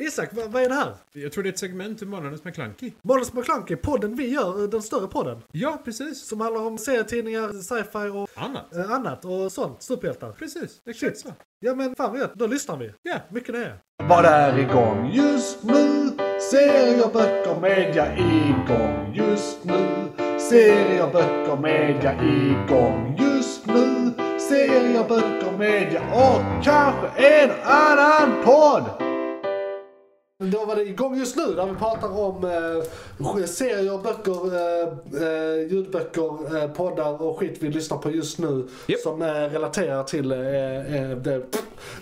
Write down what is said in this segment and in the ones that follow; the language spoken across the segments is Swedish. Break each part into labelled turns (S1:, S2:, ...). S1: Isak, vad, vad är det här?
S2: Jag tror det är ett segment ur Månadens McKlunky.
S1: Måns McClunky, podden vi gör, eh, den större podden.
S2: Ja, precis.
S1: Som handlar om serietidningar, sci-fi och
S2: Annat.
S1: eh, annat och sånt. Superhjältar.
S2: Precis, exakt så.
S1: Ja men fan vad gött, då lyssnar vi.
S2: Ja.
S1: Mycket det är.
S3: Vad är igång just nu? Serier, böcker, media igång just nu. Serier, böcker, media igång just nu. Serier, böcker, media och kanske en annan podd.
S1: Då var det igång just nu när vi pratar om eh, serier, böcker, eh, eh, ljudböcker, eh, poddar och skit vi lyssnar på just nu.
S2: Japp.
S1: Som eh, relaterar till eh, eh, det,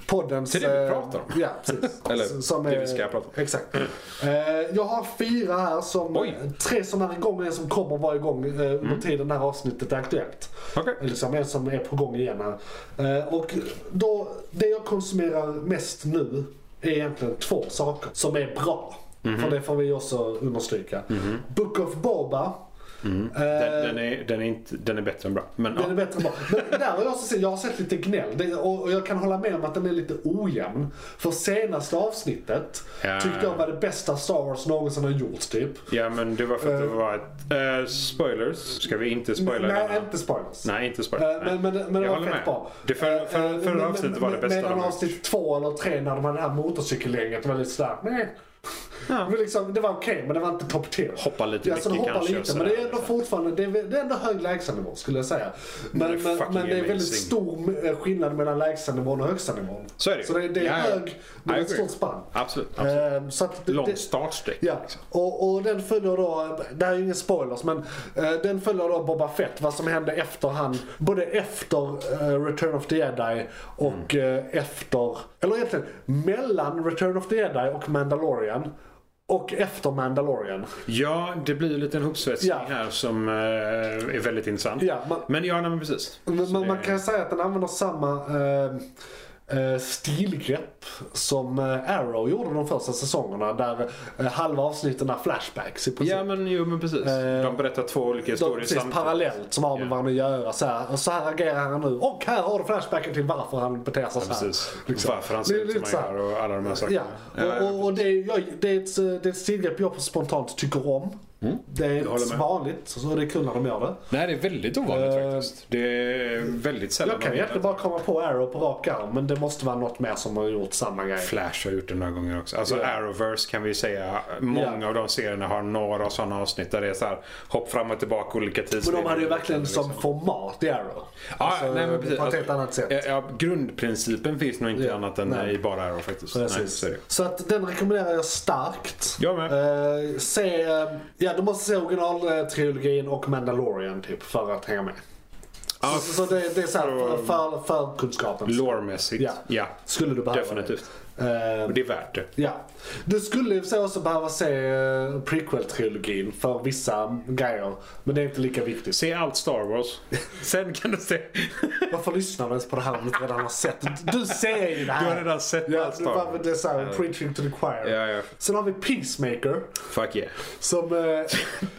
S1: poddens...
S2: Till det vi
S1: eh,
S2: pratar om.
S1: Ja, precis.
S2: Eller
S1: S-
S2: det
S1: är-
S2: vi ska prata om. Mm.
S1: Exakt. Eh, jag har fyra här som... eh,
S2: Oj. Mm.
S1: Tre som är igång och en som kommer vara igång eh, under tiden det här avsnittet är aktuellt.
S2: Okej.
S1: Liksom en som är på gång igen här. Eh, och då, det jag konsumerar mest nu är egentligen två saker som är bra.
S4: Mhm.
S1: För det får vi också understryka. Book of Boba. eh,
S4: Den, den, är, den, är inte, den är bättre än bra. Men,
S1: den är
S4: ja.
S1: bättre än bra. Men där har jag också sett, jag har sett lite gnäll. Det, och, och jag kan hålla med om att den är lite ojämn. För senaste avsnittet
S4: Ja.
S1: tyckte jag var det bästa Star Wars någonsin har gjort typ.
S4: ja, men det var för att det var ett... eh, spoilers. Ska vi inte spoila
S1: Nej,
S4: denna?
S1: inte spoilers.
S4: Nej, inte
S1: Eh,
S4: spoilers.
S1: Men, men, men det
S4: Jag
S1: var
S4: håller
S1: fett
S4: med.
S1: bra.
S4: Det för, för,
S1: Eh,
S4: förra
S1: men-
S4: avsnittet
S1: men-
S4: var det bästa de
S1: Medan
S4: har gjort.
S1: avsnitt två eller tre när de hade det här motorcykelgänget var lite sådär, nej. Men liksom, det var okej men det var inte top tier.
S4: Hoppa lite
S1: Ja, så de
S4: mycket
S1: hoppar
S4: kanske och
S1: lite
S4: sådär,
S1: men det är ändå
S4: liksom.
S1: fortfarande det är, det är ändå hög lägstanivå skulle jag säga. Men,
S4: Det är
S1: men,
S4: fucking
S1: men det är väldigt
S4: amazing.
S1: stor eh, skillnad mellan lägstanivån och högstanivån.
S4: Så är det ju.
S1: Så det, det är
S4: Ja, ja.
S1: hög, men
S4: I
S1: ett
S4: agree.
S1: stort spann.
S4: Absolut. absolut.
S1: Eh, Så att det-
S4: Lång
S1: det-
S4: startsträcka.
S1: Ja,
S4: liksom.
S1: och, och den följer då, det här är ju ingen spoilers, men eh, den följer då Boba Fett, vad som hände efter han, både efter eh, Return of the Jedi och
S4: Mm.
S1: eh, efter, eller egentligen mellan Return of the Jedi och Mandalorian. Och efter Mandalorian.
S4: Ja, det blir ju en liten hopsvetsning
S1: Ja.
S4: här som eh, är väldigt intressant.
S1: Ja, man,
S4: Men ja, nej, men precis.
S1: men,
S4: Mm. Så
S1: man,
S4: det-
S1: man kan säga att den använder samma eh, eh, stilgrepp som eh, Arrow gjorde de första säsongerna. Där eh, halva avsnitten är flashbacks i princip.
S4: Ja, men jo, men precis.
S1: Alltså- Eh,
S4: De berättar två olika
S1: De,
S4: historier
S1: precis, parallellt som har med
S4: Ja.
S1: varandra att göra. Så här, och så här agerar han nu. Och här har du flashbacken till varför han beter sig så här.
S4: Precis. Varför han ser
S1: liksom. Det är
S4: ut
S1: lite
S4: som han
S1: så här.
S4: gör och alla de här sakerna.
S1: Ja, och, och, och det, är, jag, det, är ett, det är ett stilgrepp jag spontant tycker om. Det är
S4: Mm. håller
S1: inte
S4: med.
S1: vanligt, så det är kul när de gör det.
S4: Nej, det är väldigt ovanligt
S1: Eh,
S4: faktiskt. Det är väldigt sällan
S1: Jag kan
S4: de
S1: egentligen bara komma på Arrow på rak arm, men det måste vara något mer som har gjort samma grej.
S4: Flash har gjort det några gånger också. Alltså
S1: Ja.
S4: Arrowverse kan vi säga. Många
S1: Ja.
S4: av de serierna har några sådana avsnitt där det är så här hopp fram och tillbaka olika
S1: Men
S4: tidslinjer.
S1: de hade ju verkligen som format i Arrow.
S4: liksom. Ja,
S1: Alltså,
S4: nej, men precis.
S1: På ett helt
S4: Alltså,
S1: annat sätt.
S4: Ja, ja, grundprincipen finns nog inte
S1: Ja,
S4: annat än
S1: nej.
S4: i bara Arrow faktiskt. Nej,
S1: Precis.
S4: så är det.
S1: så att den rekommenderar jag starkt.
S4: Jag
S1: med. se, eh, ja, du måste se originaltrilogin och Mandalorian typ för att hänga med.
S4: Ja,
S1: så, så det, det är såhär för, för, för kunskapen.
S4: Lore-mässigt,
S1: Ja.
S4: ja.
S1: Skulle du behöva
S4: Definitivt.
S1: det. Eh,
S4: Och det är värt det.
S1: Ja. Du skulle i och för sig också behöva se eh, prequel-trilogin för vissa grejer. Men det är inte lika viktigt.
S4: Se allt Star Wars. Sen kan du se.
S1: Varför lyssnar du ens på det här om du inte redan har sett? Du ser ju det här.
S4: Du har redan sett
S1: ja,
S4: allt
S1: det
S4: Star
S1: var väl
S4: Wars.
S1: det såhär, preaching to the choir.
S4: Ja, ja.
S1: Sen har vi Peacemaker.
S4: Fuck yeah.
S1: Som, eh,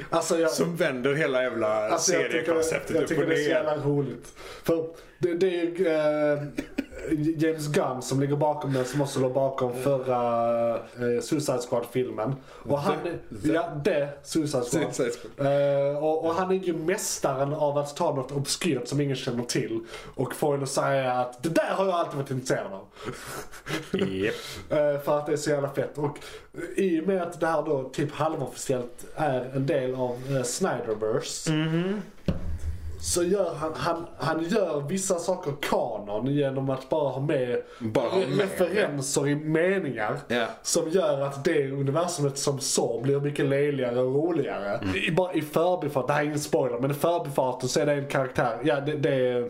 S1: alltså jag,
S4: Som vänder hela jävla
S1: alltså jag tycker, jag
S4: seriekonceptet upp
S1: tycker
S4: och
S1: det är så
S4: ner.
S1: jävla roligt. För det, det är ju eh, James Gunn som ligger bakom den som också låg bakom förra eh, Suicide Squad-filmen. Och han, ja det, Suicide Squad.
S2: Suicide Squad.
S1: Eh, och, och han är ju mästaren av att ta något obskyrt som ingen känner till och få en att säga att det där har jag alltid varit intresserad av.
S4: Japp.
S1: Eh, För att det är så jävla fett. Och i och med att det här då typ halvofficiellt är en del av eh, Snyderverse. Så gör han, han, han gör vissa saker kanon genom att bara ha med,
S4: Bara ha
S1: re-
S4: med.
S1: referenser i meningar.
S4: Ja.
S1: Som gör att det universumet som så blir mycket löjligare och roligare. I, bara i förbifart, det här är ingen spoiler, men i förbifarten så är det en karaktär, ja det, det är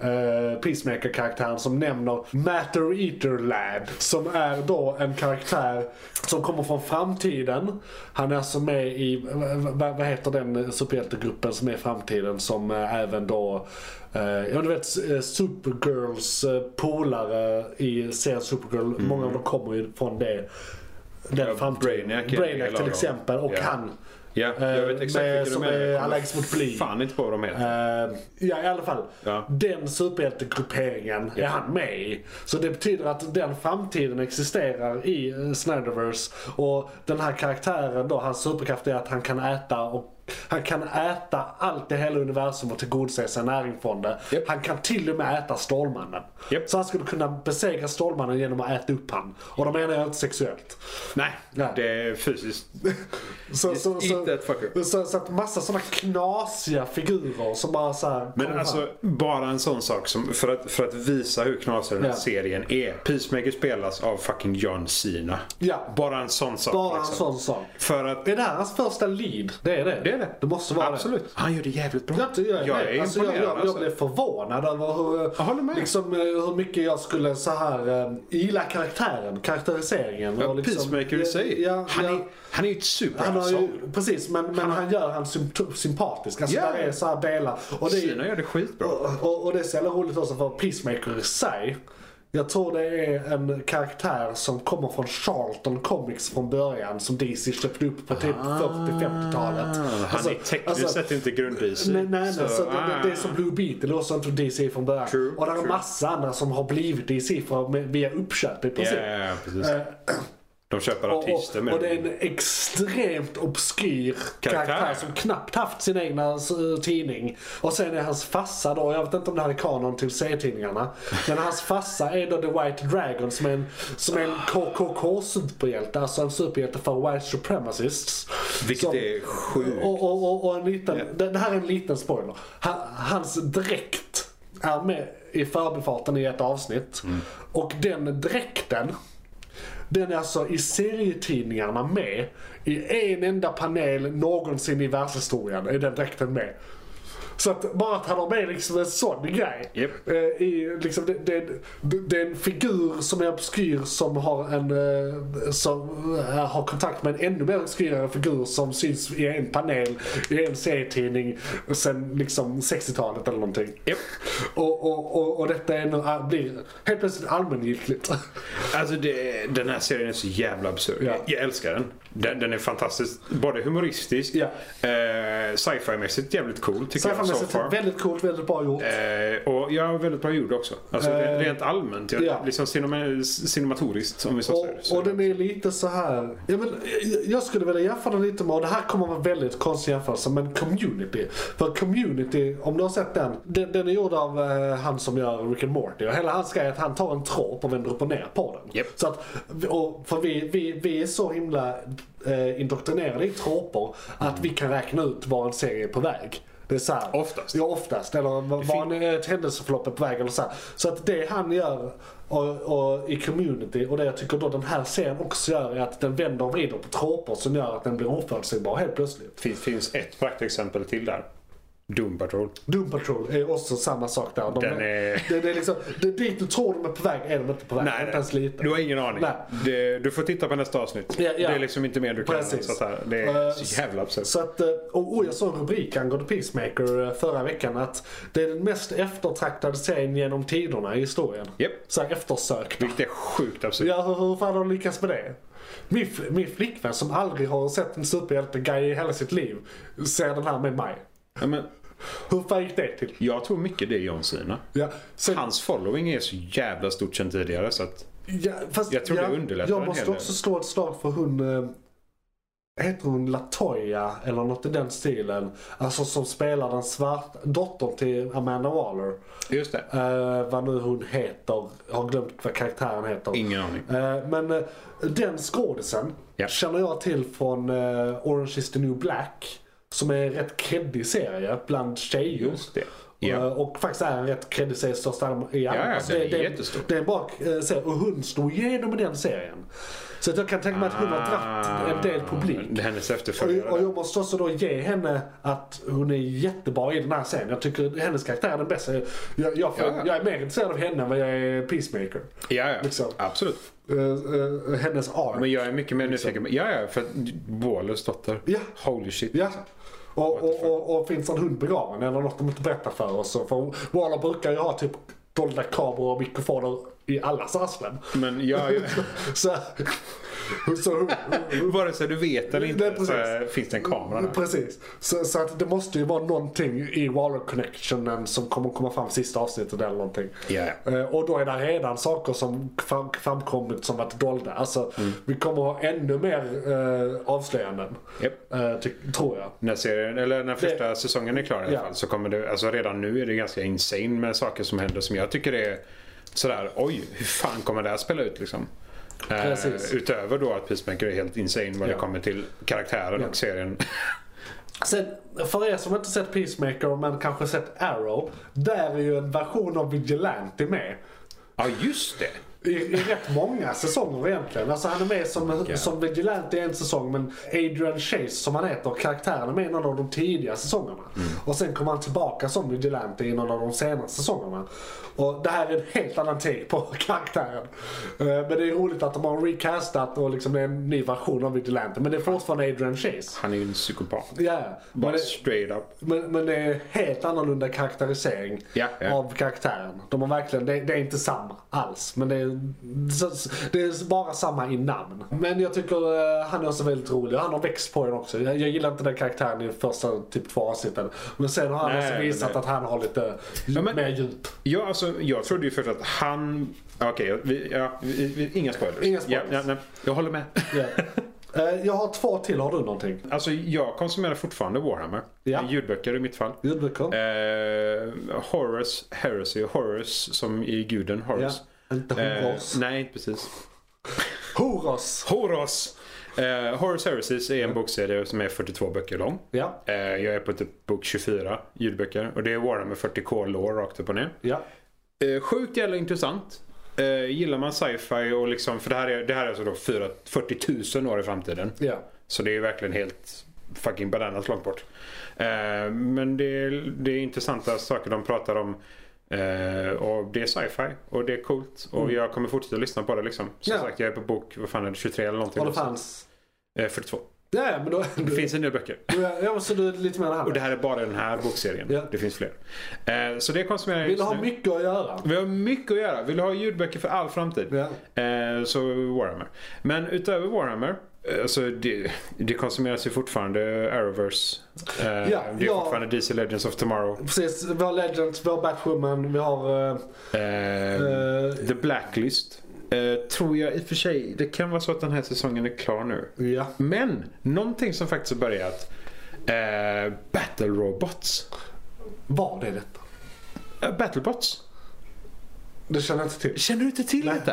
S1: eh, Peacemaker-karaktären som nämner Matter Eater Lad. Som är då en karaktär som kommer från framtiden. Han är alltså med i, v- v- vad heter den superhjältegruppen som är i framtiden som eh, även då eh, Ja du vet s- eh, Supergirls eh, polare i serien Supergirl, många av dem kommer ju från det. Den
S4: Mm. Ja,
S1: framtiden.
S4: Brainiac är en del
S1: Brainiac
S4: av
S1: till
S4: dem.
S1: exempel och
S4: Ja.
S1: han
S4: Ja, jag vet
S1: Eh,
S4: exakt
S1: med-
S4: vilka du
S1: som
S4: menar.
S1: är
S4: Jag kommer
S1: allergisk mot bly.
S4: Fan inte på vad de heter.
S1: Eh, ja, i alla fall.
S4: Ja.
S1: Den superhjältegrupperingen är
S4: Ja.
S1: han med i. Så det betyder att den framtiden existerar i eh, Snyderverse. Och den här karaktären då, hans superkraft är att han kan äta och han kan äta allt i hela universum och tillgodose sig näring från det.
S4: Japp.
S1: Han kan till och med äta Stålmannen.
S4: Japp.
S1: Så han skulle kunna besegra Stålmannen genom att äta upp han. Och då menar jag inte sexuellt.
S4: Nej,
S1: nej.
S4: det är fysiskt.
S1: Så,
S4: Just
S1: så, så,
S4: eat that fucker.
S1: så, så att massa sådana knasiga figurer som bara så här kommer
S4: Men
S1: fram.
S4: alltså, bara en sån sak som, för, att, för att visa hur knasig den här
S1: Ja.
S4: serien är. Peacemaker spelas av fucking John Cena.
S1: Ja.
S4: Bara en sån sak.
S1: Bara en
S4: liksom.
S1: sån sak.
S4: För att...
S1: Är det här hans första lead? Det är det.
S4: Det är det.
S1: Det måste vara
S4: Absolut.
S1: det.
S4: Han gör det jävligt bra.
S1: Jag, jag,
S4: Jag
S1: är
S4: är
S1: alltså, jag,
S4: imponerad,
S1: jag, jag
S4: alltså.
S1: blev förvånad över hur,
S4: Jag håller med.
S1: liksom, eh, hur mycket jag skulle så här eh, gilla karaktären, karaktäriseringen.
S4: Ja,
S1: och liksom,
S4: Peacemaker i sig.
S1: Ja,
S4: han,
S1: ja.
S4: Är, han är ju ett
S1: Han har
S4: superasshole.
S1: ju, precis, men, men han, gör han symp- sympatisk. Alltså
S4: Ja.
S1: där är så här delar. Och det, är-
S4: Cena gör det skitbra.
S1: och, och, och det är så jävla roligt också för Peacemaker i sig. Jag tror det är en karaktär som kommer från Charlton Comics från början som DC köpte upp på typ 40-50-talet.
S4: Ah. han är tekniskt sett inte grunddisig.
S1: Alltså, Nej, nej, nej. Så, det, det, det är
S4: ah.
S1: som Blue Beetle och sånt från DC från början.
S4: True,
S1: och det är
S4: true.
S1: massa andra som har blivit DC för, med, via uppköp i princip.
S4: Ja, ja, ja, precis. De köper
S1: Eh, Och,
S4: artister
S1: och,
S4: med
S1: och det är en extremt obskyr karaktär.
S4: Karaktär.
S1: som knappt haft sin egna eh, tidning. Och sen är hans farsa då, jag vet inte om det här är kanon till serietidningarna. Men hans farsa är då The White Dragon som är en, som är en
S4: Ah.
S1: KKK-superhjälte. Alltså en superhjälte för White Supremacists.
S4: Vilket
S1: som,
S4: är sjukt.
S1: liksom- Och, och, och, och en liten, det, det här är en liten spoiler. Han, hans dräkt är med i förbifarten i ett avsnitt. Och den dräkten den är alltså i serietidningarna med i en enda panel någonsin i världshistorien. Är den dräkten med. Så att bara att han har med liksom en sån grej.
S4: Japp.
S1: Eh, I, liksom, det, det, det, det är en figur som är obskyr som har en eh, som eh, har kontakt med en ännu mer obskyrare figur som syns i en panel i en serietidning sen liksom 60-talet eller någonting.
S4: Japp.
S1: Och, och, och, och detta är nu, ah, blir helt plötsligt allmängiltigt.
S4: Alltså det, den här serien är så jävla absurd.
S1: Ja.
S4: Jag, jag älskar den. den. Den är fantastisk. Både humoristisk,
S1: Ja.
S4: eh, sci-fi-mässigt jävligt cool tycker jag so
S1: Sci-fi-mässigt
S4: far.
S1: väldigt coolt, väldigt bra gjort.
S4: Eh, och jag är väldigt bra gjord också. Alltså
S1: Eh,
S4: rent allmänt. Jag,
S1: ja.
S4: Liksom cinema, cinematoriskt om vi så säger.
S1: Och,
S4: Så-
S1: och den är lite så här. Ja, men, jag- jag skulle vilja jämföra den lite med, och det här kommer vara en väldigt konstig jämförelse, men community. För community, om du har sett den, den, den är gjord av eh, han som gör Rick and Morty. Och hela hans grej är att han tar en tråp och vänder upp och ner på den.
S4: Japp.
S1: Så att, och, för vi, vi, vi är så himla eh, indoktrinerade i tråpor att vi kan räkna ut var en serie är på väg. Det är så här,
S4: Oftast.
S1: Ja, oftast. Eller var en, ett händelseförlopp är på väg eller så. Här. Så att det han gör och, och, i community och det jag tycker då den här serien också gör är att den vänder och vrider på tråpor som gör att den blir oförutsägbar helt plötsligt.
S4: finns, finns ett praktexempel till där. Doom Patrol.
S1: Doom Patrol är också samma sak där. De,
S4: Den är-
S1: det, det är liksom, det, dit du tror de är på väg är de inte på väg. inte ens lite.
S4: Du har ingen aning.
S1: Nej.
S4: Det, du får titta på nästa avsnitt.
S1: Ja, ja.
S4: Det är liksom inte mer du kan.
S1: Precis.
S4: Så att här, det
S1: Eh,
S4: är så jävla absurt.
S1: Så att, eh, och, och jag såg en rubrik angående Peacemaker eh, förra veckan att det är den mest eftertraktade serien genom tiderna i historien.
S4: Japp.
S1: Så här eftersökt.
S4: Vilket är sjukt absurt.
S1: Ja, hur, hur fan har de lyckats med det? Min, fl- min flickvän som aldrig har sett en superhjälte-guy i hela sitt liv ser den här med mig.
S4: Ja, men,
S1: Hur fan gick det till?
S4: jag tror mycket det är John Cena.
S1: Ja, sen,
S4: Hans following är så jävla stort sen tidigare så att...
S1: ja, fast,
S4: jag tror
S1: ja,
S4: det underlättar
S1: Jag
S4: en
S1: måste
S4: hel del.
S1: också slå ett slag för hon... eh, Heter hon Latoya eller något i den stilen? Alltså som spelar den svarta dottern till Amanda Waller.
S4: Just det.
S1: Eh, vad nu hon heter. Jag har glömt vad karaktären heter.
S4: Ingen aning.
S1: Eh, men eh, den skådisen
S4: Ja.
S1: känner jag till från eh, Orange is the new black. Som är en rätt kreddig serie bland tjejer.
S4: Just det. Ja.
S1: Eh, Och faktiskt är en rätt kreddig serie i största allmänhet. Ja,
S4: ja, den är jättestor.
S1: Det är en bra eh, serie och hon slog igenom i den serien. Så att jag kan tänka mig att hon har dragit en del publik.
S4: Ah. Det är hennes
S1: Och,
S4: efterföljare.
S1: och jag måste också då ge henne att hon är jättebra i den här serien. Jag tycker hennes karaktär är den bästa. Jag, jag, får-
S4: Ja.
S1: jag är mer intresserad av henne än vad jag är Peacemaker.
S4: ja, ja.
S1: liksom.
S4: Absolut.
S1: Eh, eh, hennes ark.
S4: Men jag är mycket mer nyfiken på... Ja, ja. För att Wahlers dotter.
S1: Liksom. Ja.
S4: Holy shit.
S1: Ja. Och, och, och, och finns en hund begraven eller något de inte berättar för oss. så- För Waller brukar ju ha typ dolda kameror och mikrofoner i allas arslen.
S4: Men jag...
S1: Så, Så,
S4: Vare sig du vet eller
S1: Nej,
S4: inte
S1: precis.
S4: så eh, finns det en kamera där.
S1: Mm, precis. Så, så att det måste ju vara någonting i Waller Connectionen som kommer komma fram sista avsnittet eller någonting.
S4: Ja.
S1: Eh, Och då är det redan saker som fram, framkommit som varit dolda. Alltså, vi kommer ha ännu mer eh, avslöjanden.
S4: Japp.
S1: Eh, ty- tror jag.
S4: När, serien, eller när första säsongen är klar i alla
S1: Ja.
S4: fall så kommer det, alltså redan nu är det ganska insane med saker som händer som jag tycker är sådär oj, hur fan kommer det här spela ut liksom? Eh,
S1: Precis.
S4: utöver då att Peacemaker är helt insane vad
S1: Ja.
S4: det kommer till karaktären och serien.
S1: Sen, för er som inte sett Peacemaker men kanske sett Arrow. Där är ju en version av Vigilante med.
S4: Ja just det!
S1: I, I rätt många säsonger egentligen. Alltså han är med som, som Vigilante i en säsong men Adrian Chase som han heter, karaktären är med i någon av de tidiga säsongerna. Och sen kommer han tillbaka som Vigilante i någon av de senare säsongerna. Och det här är en helt annan take på karaktären. Eh, Men det är roligt att de har recastat och liksom det är en ny version av Vigilante. Men det är fortfarande Adrian Chase.
S4: Han är ju en psykopat.
S1: Ja, men
S4: Bara
S1: det,
S4: straight up.
S1: men, men det är helt annorlunda karaktärisering
S4: Ja, ja.
S1: av karaktären. De har verkligen, det, det är inte samma alls. Men det är, så- det är bara samma i namn. Men jag tycker eh, han är också väldigt rolig. Han har växt på den också. Jag, jag gillar inte den karaktären i första typ två avsnitten. Men sen har han
S4: Nej,
S1: också
S4: men
S1: visat
S4: det-
S1: att han har lite
S4: Ja, men-
S1: mer djup.
S4: Ja, alltså, jag trodde ju först att han... Okej, vi, ja, vi, vi, inga spoilers.
S1: Inga spoilers.
S4: Ja, ja, nej, jag håller med.
S1: Ja. Eh, Jag har två till. Har du någonting?
S4: Alltså, jag konsumerar fortfarande Warhammer.
S1: Ja.
S4: Ljudböcker i mitt fall.
S1: Ljudböcker?
S4: Eh, Horus Heresy. Horus som i guden
S1: Ja.
S4: Horus.
S1: Inte
S4: Eh,
S1: Horos.
S4: nej, inte precis.
S1: Horos!
S4: Horus! Eh, Horus Heresies är en bokserie som är 42 böcker lång.
S1: Ja,
S4: Eh, jag är på typ bok 24 ljudböcker. Och det är Warhammer 40K lore rakt upp och ner.
S1: ja.
S4: Eh, sjukt jävla intressant. Eh, gillar man sci-fi och liksom, för det här är, det här är alltså då 4, 40 000 år i framtiden.
S1: ja.
S4: Så det är verkligen helt fucking bananas långt bort. Eh, men det är, det är intressanta saker de pratar om. Eh, och det är sci-fi och det är coolt. Och jag kommer fortsätta lyssna på det liksom. Som
S1: Mm. Ja.
S4: sagt, jag är på bok, vad fan är det, 23 eller någonting.
S1: Och det fanns...
S4: Eh, 42.
S1: Ja, ja, men då...
S4: Det finns en del böcker.
S1: Ja, så du är lite mer än han.
S4: Och det här är bara den här bokserien.
S1: Ja.
S4: Det finns fler. Eh, så det konsumerar jag
S1: Vill
S4: just
S1: ha
S4: nu.
S1: mycket att göra.
S4: Vi har mycket att göra. Vill du ha ljudböcker för all framtid?
S1: Ja.
S4: Eh, så Warhammer. Men utöver Warhammer, eh, alltså det, det konsumeras ju fortfarande Arrowverse. Eh, det är
S1: ja.
S4: fortfarande DC Legends of Tomorrow.
S1: Precis, vi har Legends, vi har Batwoman, vi har... eh,
S4: Eh,
S1: eh,
S4: The Blacklist. Eh, tror jag i och för sig, det kan vara så att den här säsongen är klar nu.
S1: ja.
S4: Men någonting som faktiskt har börjat. Eh, Battle Robots.
S1: Var det detta?
S4: Eh, Battlebots.
S1: Det känner jag inte till.
S4: Känner du inte till
S1: Nej.
S4: detta?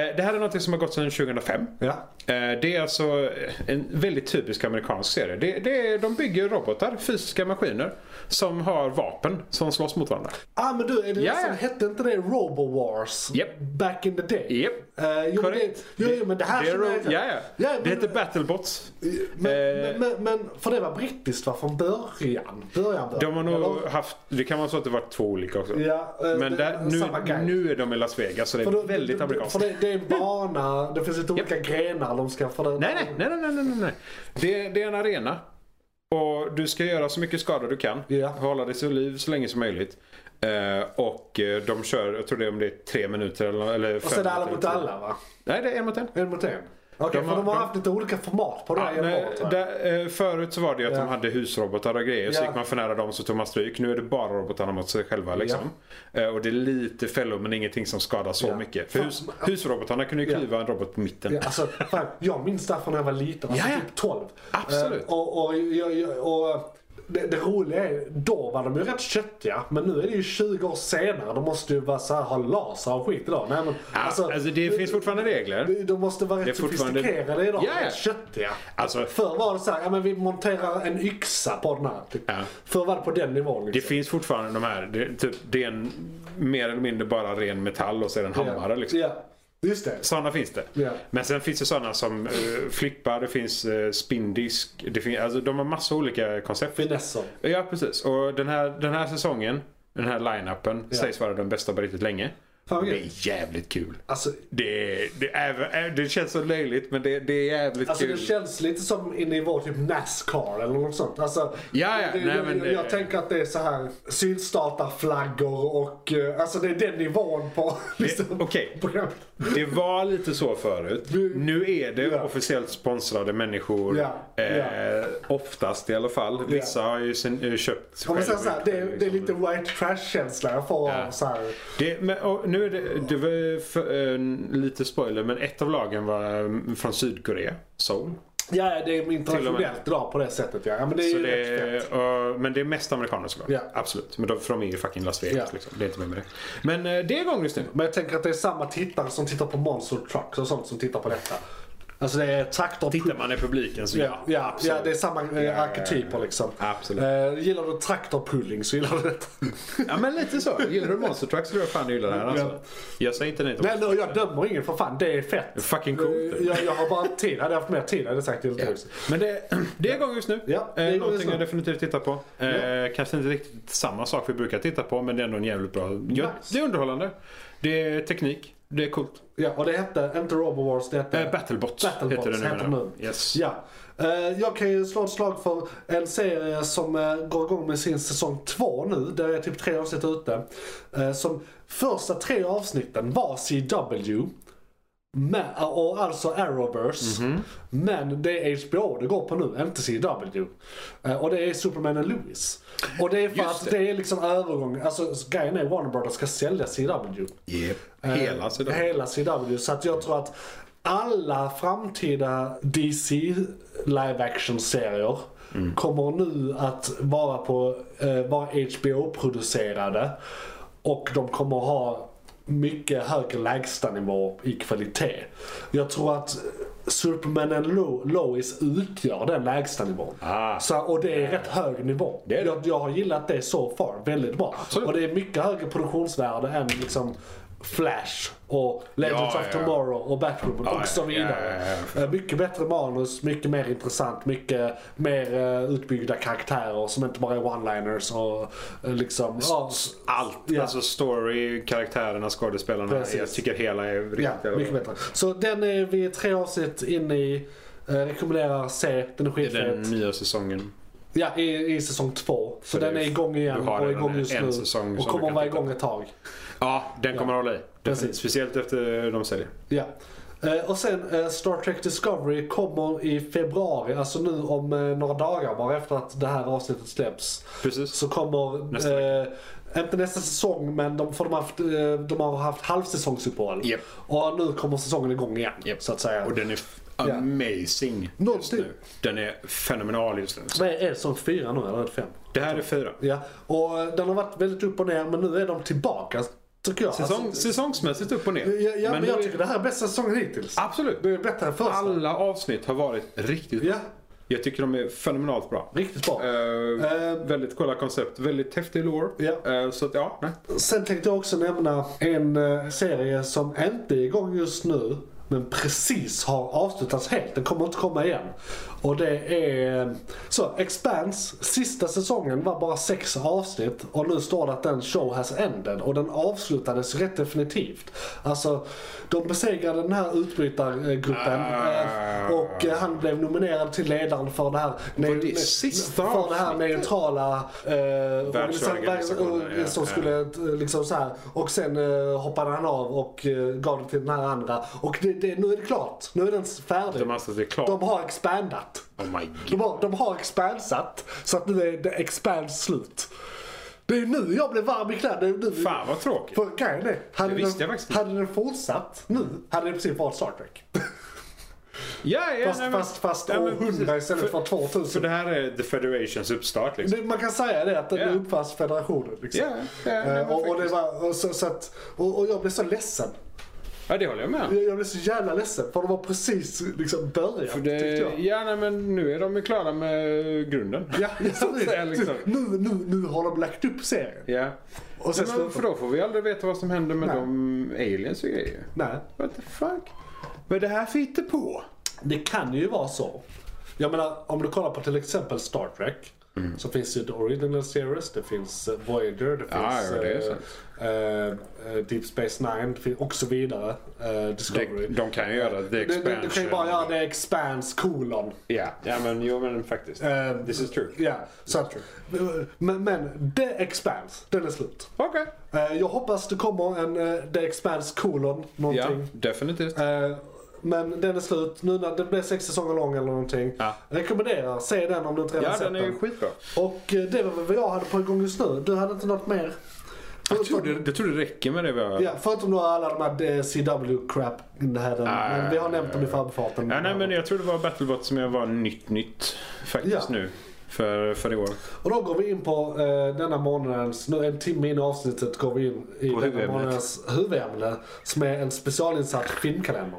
S4: Eh, det här är något som har gått sedan 2005.
S1: Ja.
S4: Eh, Det är alltså en väldigt typisk amerikansk serie. Det, det är, de bygger robotar, fysiska maskiner, som har vapen som slåss mot varandra.
S1: Ah men du, är det
S4: Ja,
S1: det som
S4: ja.
S1: hette inte det Robowars?
S4: Japp.
S1: Back in the day?
S4: Japp.
S1: Eh, jo, men det,
S4: Korrekt.
S1: jo, jo, men det här
S4: det är,
S1: känner jag
S4: ro-
S1: inte.
S4: ja, ja.
S1: Ah, Ja, men-
S4: det heter Battlebots.
S1: Men,
S4: Eh.
S1: men, men, men, för det var brittiskt va? Från början? Början, början.
S4: De har nog
S1: Eller?
S4: haft, det kan vara så att det varit två olika också.
S1: Ja, eh,
S4: Men
S1: det-
S4: där, nu,
S1: samma guy.
S4: nu är de i Las Vegas så det är
S1: För då-
S4: väldigt
S1: det-
S4: amerikanskt.
S1: För det, det är en bana, det finns lite
S4: Japp.
S1: olika grenar de ska... För det,
S4: Nej, nej, nej, nej, nej, nej, nej. Det, det är en arena. Och du ska göra så mycket skada du kan.
S1: Ja.
S4: Hålla dig så liv så länge som möjligt. Eh, och eh, de kör, jag tror det är om det är tre minuter eller, eller
S1: Och sen är det alla mot alla va?
S4: Nej, det är en mot en.
S1: En mot en? Okej,
S4: De
S1: för
S4: har-
S1: de har
S4: de-
S1: haft lite olika format på det här
S4: Ja,
S1: genom
S4: nej,
S1: året va?
S4: där, eh, förut så var det ju att
S1: Ja.
S4: de hade husrobotar och grejer. Så
S1: Ja.
S4: gick man för nära dem så tog man stryk. Nu är det bara robotarna mot sig själva. Liksom. Eh, och det är lite fällor men ingenting som skadar så
S1: Ja.
S4: mycket. För
S1: Fan,
S4: hus, husrobotarna kunde ju
S1: Ja.
S4: klyva en robot på mitten.
S1: Ja, alltså, fan, jag minns det här från när jag var liten, alltså
S4: Ja, ja.
S1: typ 12.
S4: Absolut.
S1: Eh, och, och, jag- jag- och, eh, det, det roliga är, då var de ju rätt köttiga. Men nu är det ju 20 år senare. De måste ju vara så här, ha laser och skit idag. Nej, men,
S4: Ja, alltså, det finns fortfarande regler.
S1: de- De måste vara rätt
S4: fortfarande-
S1: sofistikerade idag.
S4: Ja, ja.
S1: Rätt köttiga.
S4: Alltså-
S1: Förr var det så här, ja men vi monterar en yxa på den här. Typ.
S4: Ja.
S1: Förr var det på den nivån.
S4: Det
S1: Liksom.
S4: finns fortfarande de här. Det, är typ, det är en mer eller mindre bara ren metall och så är det en hammare. Liksom.
S1: Ja, just det.
S4: Sådana finns det.
S1: Ja.
S4: Men sen finns det sådana som eh, flippar, det finns eh, spindisk. Det fin- alltså, de har massa olika koncept.
S1: Finesser.
S4: Ja, precis. Och den här, den här säsongen, den här line-upen,
S1: Ja.
S4: sägs vara den bästa på riktigt länge.
S1: Fan, vad
S4: det
S1: grymt.
S4: är jävligt kul.
S1: Alltså,
S4: Det, är- det, är, även- eh, det känns så löjligt, men det, det är jävligt
S1: Alltså
S4: kul.
S1: det känns lite som i nivå typ Nascar eller något sånt. Alltså,
S4: Ja, ja.
S1: det,
S4: Nej,
S1: jag,
S4: men det-
S1: jag tänker att det är så här sydstatarflaggor och eh, alltså det är den nivån på, liksom,
S4: okej.
S1: på programmet.
S4: Det var lite så förut.
S1: Vi-
S4: Nu är det
S1: Ja.
S4: officiellt sponsrade människor.
S1: Ja,
S4: Eh, oftast i alla fall. Vissa har ju sin, eh, köpt
S1: Om man säger
S4: själv.
S1: så här, det, är, det är
S4: Liksom.
S1: lite white trash-känsla jag får
S4: Ja.
S1: av så här.
S4: Det, men, och nu är det, det var för, eh, lite spoiler, men ett av lagen var eh, från Sydkorea, Seoul.
S1: Ja, ja, det är internationellt idag på det sättet ja. ja men det är
S4: Så
S1: ju
S4: det,
S1: rätt fett.
S4: eh, men det är mest amerikaner såklart.
S1: Ja.
S4: Absolut. Men de, för de är ju fucking Las Vegas.
S1: Ja.
S4: Liksom. Det är inte mer med det. Men eh, det är igång just nu.
S1: Men jag tänker att det är samma tittare som tittar på Monster Trucks och sånt som tittar på detta. Alltså det är traktor...
S4: Tittar man i publiken så
S1: Ja, ja,
S4: absolut.
S1: ja, det är samma eh, arketyper liksom.
S4: Absolut.
S1: Eh, gillar du traktorpulling så gillar du detta.
S4: Ja men lite så. Gillar du Monster Truck så tror jag fan du gillar det här alltså. Jag säger inte nej till
S1: Nej, nej, jag dömer ingen för fan. Det är fett.
S4: Fucking coolt.
S1: Eh, Jag, jag har bara tid. Hade jag haft mer tid hade jag sagt det.
S4: Ja. Men det, det är igång just nu.
S1: Ja, det är igång
S4: eh,
S1: just
S4: någonting
S1: nu.
S4: jag definitivt tittar på. Eh, Kanske inte riktigt samma sak vi brukar titta på men det är ändå en jävligt bra. Jag,
S1: Nice.
S4: det är underhållande. Det är teknik. Det är coolt.
S1: Ja, och det hette inte Robowars, det hette...
S4: Eh, Battlebots,
S1: Battlebots
S4: heter det
S1: heter
S4: nu. menar
S1: det
S4: jag. Yes.
S1: Ja. Eh, Jag kan ju slå ett slag för en serie som eh, går igång med sin säsong två nu. Där är typ tre avsnitt ute. Eh, Som första tre avsnitten var CW. Med, och alltså Arrowverse.
S4: Mhm.
S1: Men det är HBO det går på nu, inte CW. Eh, Och det är Superman och Lewis. Och det är för
S4: Just
S1: att
S4: det.
S1: det. är liksom övergång. Alltså grejen är Warner Brothers ska sälja CW.
S4: Eh, Hela sidan.
S1: Eh, Hela CW. Så att jag tror att alla framtida DC live action-serier kommer nu att vara, på, eh, vara HBO-producerade. Och de kommer ha mycket högre lägstanivå i kvalitet. Jag tror att Superman and Lo- Lois utgör den lägstanivån.
S4: Ah.
S1: Så, och det är rätt hög nivå.
S4: Det är det.
S1: Jag, jag har gillat det så far väldigt bra. Och det är mycket högre produktionsvärde än liksom Flash och Legends
S4: Ja,
S1: of
S4: ja.
S1: Tomorrow och Batwoman
S4: Ja,
S1: och så
S4: ja,
S1: vidare.
S4: ja,
S1: Eh, Mycket bättre manus, mycket mer intressant, mycket mer eh, utbyggda karaktärer som inte bara är one-liners och eh, liksom... ja,
S4: Allt.
S1: Ja.
S4: Alltså story, karaktärerna, skådespelarna.
S1: Precis.
S4: Jag tycker hela är riktigt
S1: Ja,
S4: jävla
S1: mycket
S4: bra.
S1: bättre. Så den är vi tre avsnitt in i. Eh, rekommenderar se, den är
S4: Det är Den
S1: skitfet.
S4: nya säsongen.
S1: Ja, i, i säsong två. Så,
S4: det
S1: den
S4: är
S1: är
S4: ju-
S1: igång
S4: du
S1: igen
S4: har
S1: och
S4: redan
S1: igång just
S4: en
S1: nu.
S4: säsong
S1: Och
S4: som du
S1: kommer
S4: kan
S1: vara
S4: titta
S1: igång ett tag.
S4: Ja, den kommer hålla i.
S1: Precis.
S4: Speciellt efter de säljer.
S1: Ja. Eh, Och sen eh, Star Trek Discovery kommer i februari, alltså nu om eh, några dagar bara efter att det här avsnittet släpps.
S4: Precis.
S1: Så kommer,
S4: Nästa
S1: eh, inte nästa säsong men de, för de, har haft, eh, de har haft halvsäsongsuppehåll.
S4: Japp.
S1: Och nu kommer säsongen igång igen så att säga.
S4: Och den är f- amazing just
S1: Någonting.
S4: nu. Den är fenomenal just nu.
S1: Vad är det som fyra nu eller är det fem?
S4: Det här är fyra.
S1: Ja. Och eh, den har varit väldigt upp och ner men nu är de tillbaka tycker jag.
S4: Säsong,
S1: Alltså,
S4: säsongsmässigt upp och ner.
S1: ja, ja, men,
S4: nu
S1: jag
S4: är-
S1: tycker det här är bästa säsongen hittills.
S4: Absolut.
S1: Det är bättre än första.
S4: Alla avsnitt har varit riktigt bra.
S1: Ja,
S4: Jag tycker de är fenomenalt bra.
S1: riktigt bra.
S4: Eh,
S1: Eh,
S4: väldigt coola koncept. Väldigt häftig lore.
S1: Ja.
S4: Eh, så att, ja, nej.
S1: Sen tänkte jag också nämna en eh, serie som inte är igång just nu men precis har avslutats helt. Den kommer inte komma igen. Och det är... eh, Så, Expanse, sista säsongen var bara sex avsnitt och nu står det att den show has ended och den avslutades rätt definitivt. Alltså, de besegrade den här utbrytargruppen eh, och eh, han blev nominerad till ledaren för det här...
S4: det sista
S1: för det här
S4: avsnittet?
S1: neutrala... Eh,
S4: Världsorganisationen,
S1: organisa- som
S4: ja, ja.
S1: skulle eh, liksom så här. Och sen eh, hoppade han av och eh, gav det till den här andra. Och det, det, nu är det klart. Nu är den färdig.
S4: De anser att det är klart.
S1: De har expandat.
S4: Oh my
S1: De
S4: god.
S1: har, de har expansat. Så att nu är det expans slut. Det är nu jag blev varm i kläderna. Det är nu-
S4: Fan vad tråkigt.
S1: För grejen är, hade,
S4: Det visste
S1: den,
S4: jag faktiskt inte.
S1: hade den fortsatt nu hade det precis varit Star Trek.
S4: Ja, ja,
S1: Fast,
S4: nej, men-
S1: fast, fast
S4: Ja,
S1: år
S4: men precis.
S1: 100 istället för
S4: För
S1: 2000.
S4: det här är The Federations uppstart liksom.
S1: Det- Man kan säga det, att den
S4: Ja.
S1: uppfanns federationen. Liksom.
S4: Ja, ja, nej,
S1: Eh,
S4: men
S1: och, och, det
S4: faktiskt.
S1: var, och, så, så att, och, och jag blev så ledsen.
S4: Ja, det håller jag med om.
S1: Jag, jag blev så jävla ledsen för det var precis liksom början
S4: För
S1: tyckte
S4: det,
S1: jag.
S4: ja, nej, men nu är de ju klara med grunden.
S1: Ja, ja,
S4: så att säga, liksom.
S1: nu, nu, nu har de lagt upp serien.
S4: Ja.
S1: Och sen
S4: Nej, men, för
S1: slutar de.
S4: då får vi aldrig veta vad som händer med
S1: Nej.
S4: de aliens och grejer.
S1: Nej,
S4: What the fuck? Vad det här för på?
S1: det kan ju vara så. Jag menar, om du kollar på till exempel Star Trek.
S4: Mm.
S1: Så finns ju The Original Series, det finns eh, Voyager, det
S5: Ja,
S1: finns
S5: ja, det är
S1: eh,
S5: sant.
S1: eh, eh, Deep Space Nine det finns- och så vidare. Eh, Discovery.
S4: De, de kan ju göra The
S1: Du- du-
S4: Expansion.
S1: Du kan ju bara göra det expans kolon.
S4: Ja, ja men jo men faktiskt.
S1: Ehm,
S4: This is true.
S1: Ja, så att, men, men The Expanse, den är slut.
S5: Okej.
S1: Eh, Jag hoppas det kommer en eh, The Expanse kolon
S5: Ja,
S1: någonting.
S5: definitivt.
S1: Eh, Men den är slut nu när den blev sex säsonger lång eller någonting.
S5: Ja.
S1: Rekommenderar, se den om du inte redan
S5: Ja,
S1: sett
S5: den är ju skitbra.
S1: Och eh, det var väl vad jag hade på igång just nu. Du hade inte något mer?
S4: Jag tror, det, jag tror det räcker med det vi har.
S1: Ja, förutom då alla de här CW-crap.
S4: Ah,
S1: Men vi har nämnt dem i förbifarten.
S4: Ja, nej, men jag tror det var Battlebot som jag var nytt nytt faktiskt
S1: Ja.
S4: nu. För, för i år.
S1: Och då går vi in på eh, denna månadens, nu en timme in i avsnittet går vi in i
S5: På
S1: denna
S5: huvudämnet.
S1: månadens huvudämne. Som är en specialinsatt filmkalender.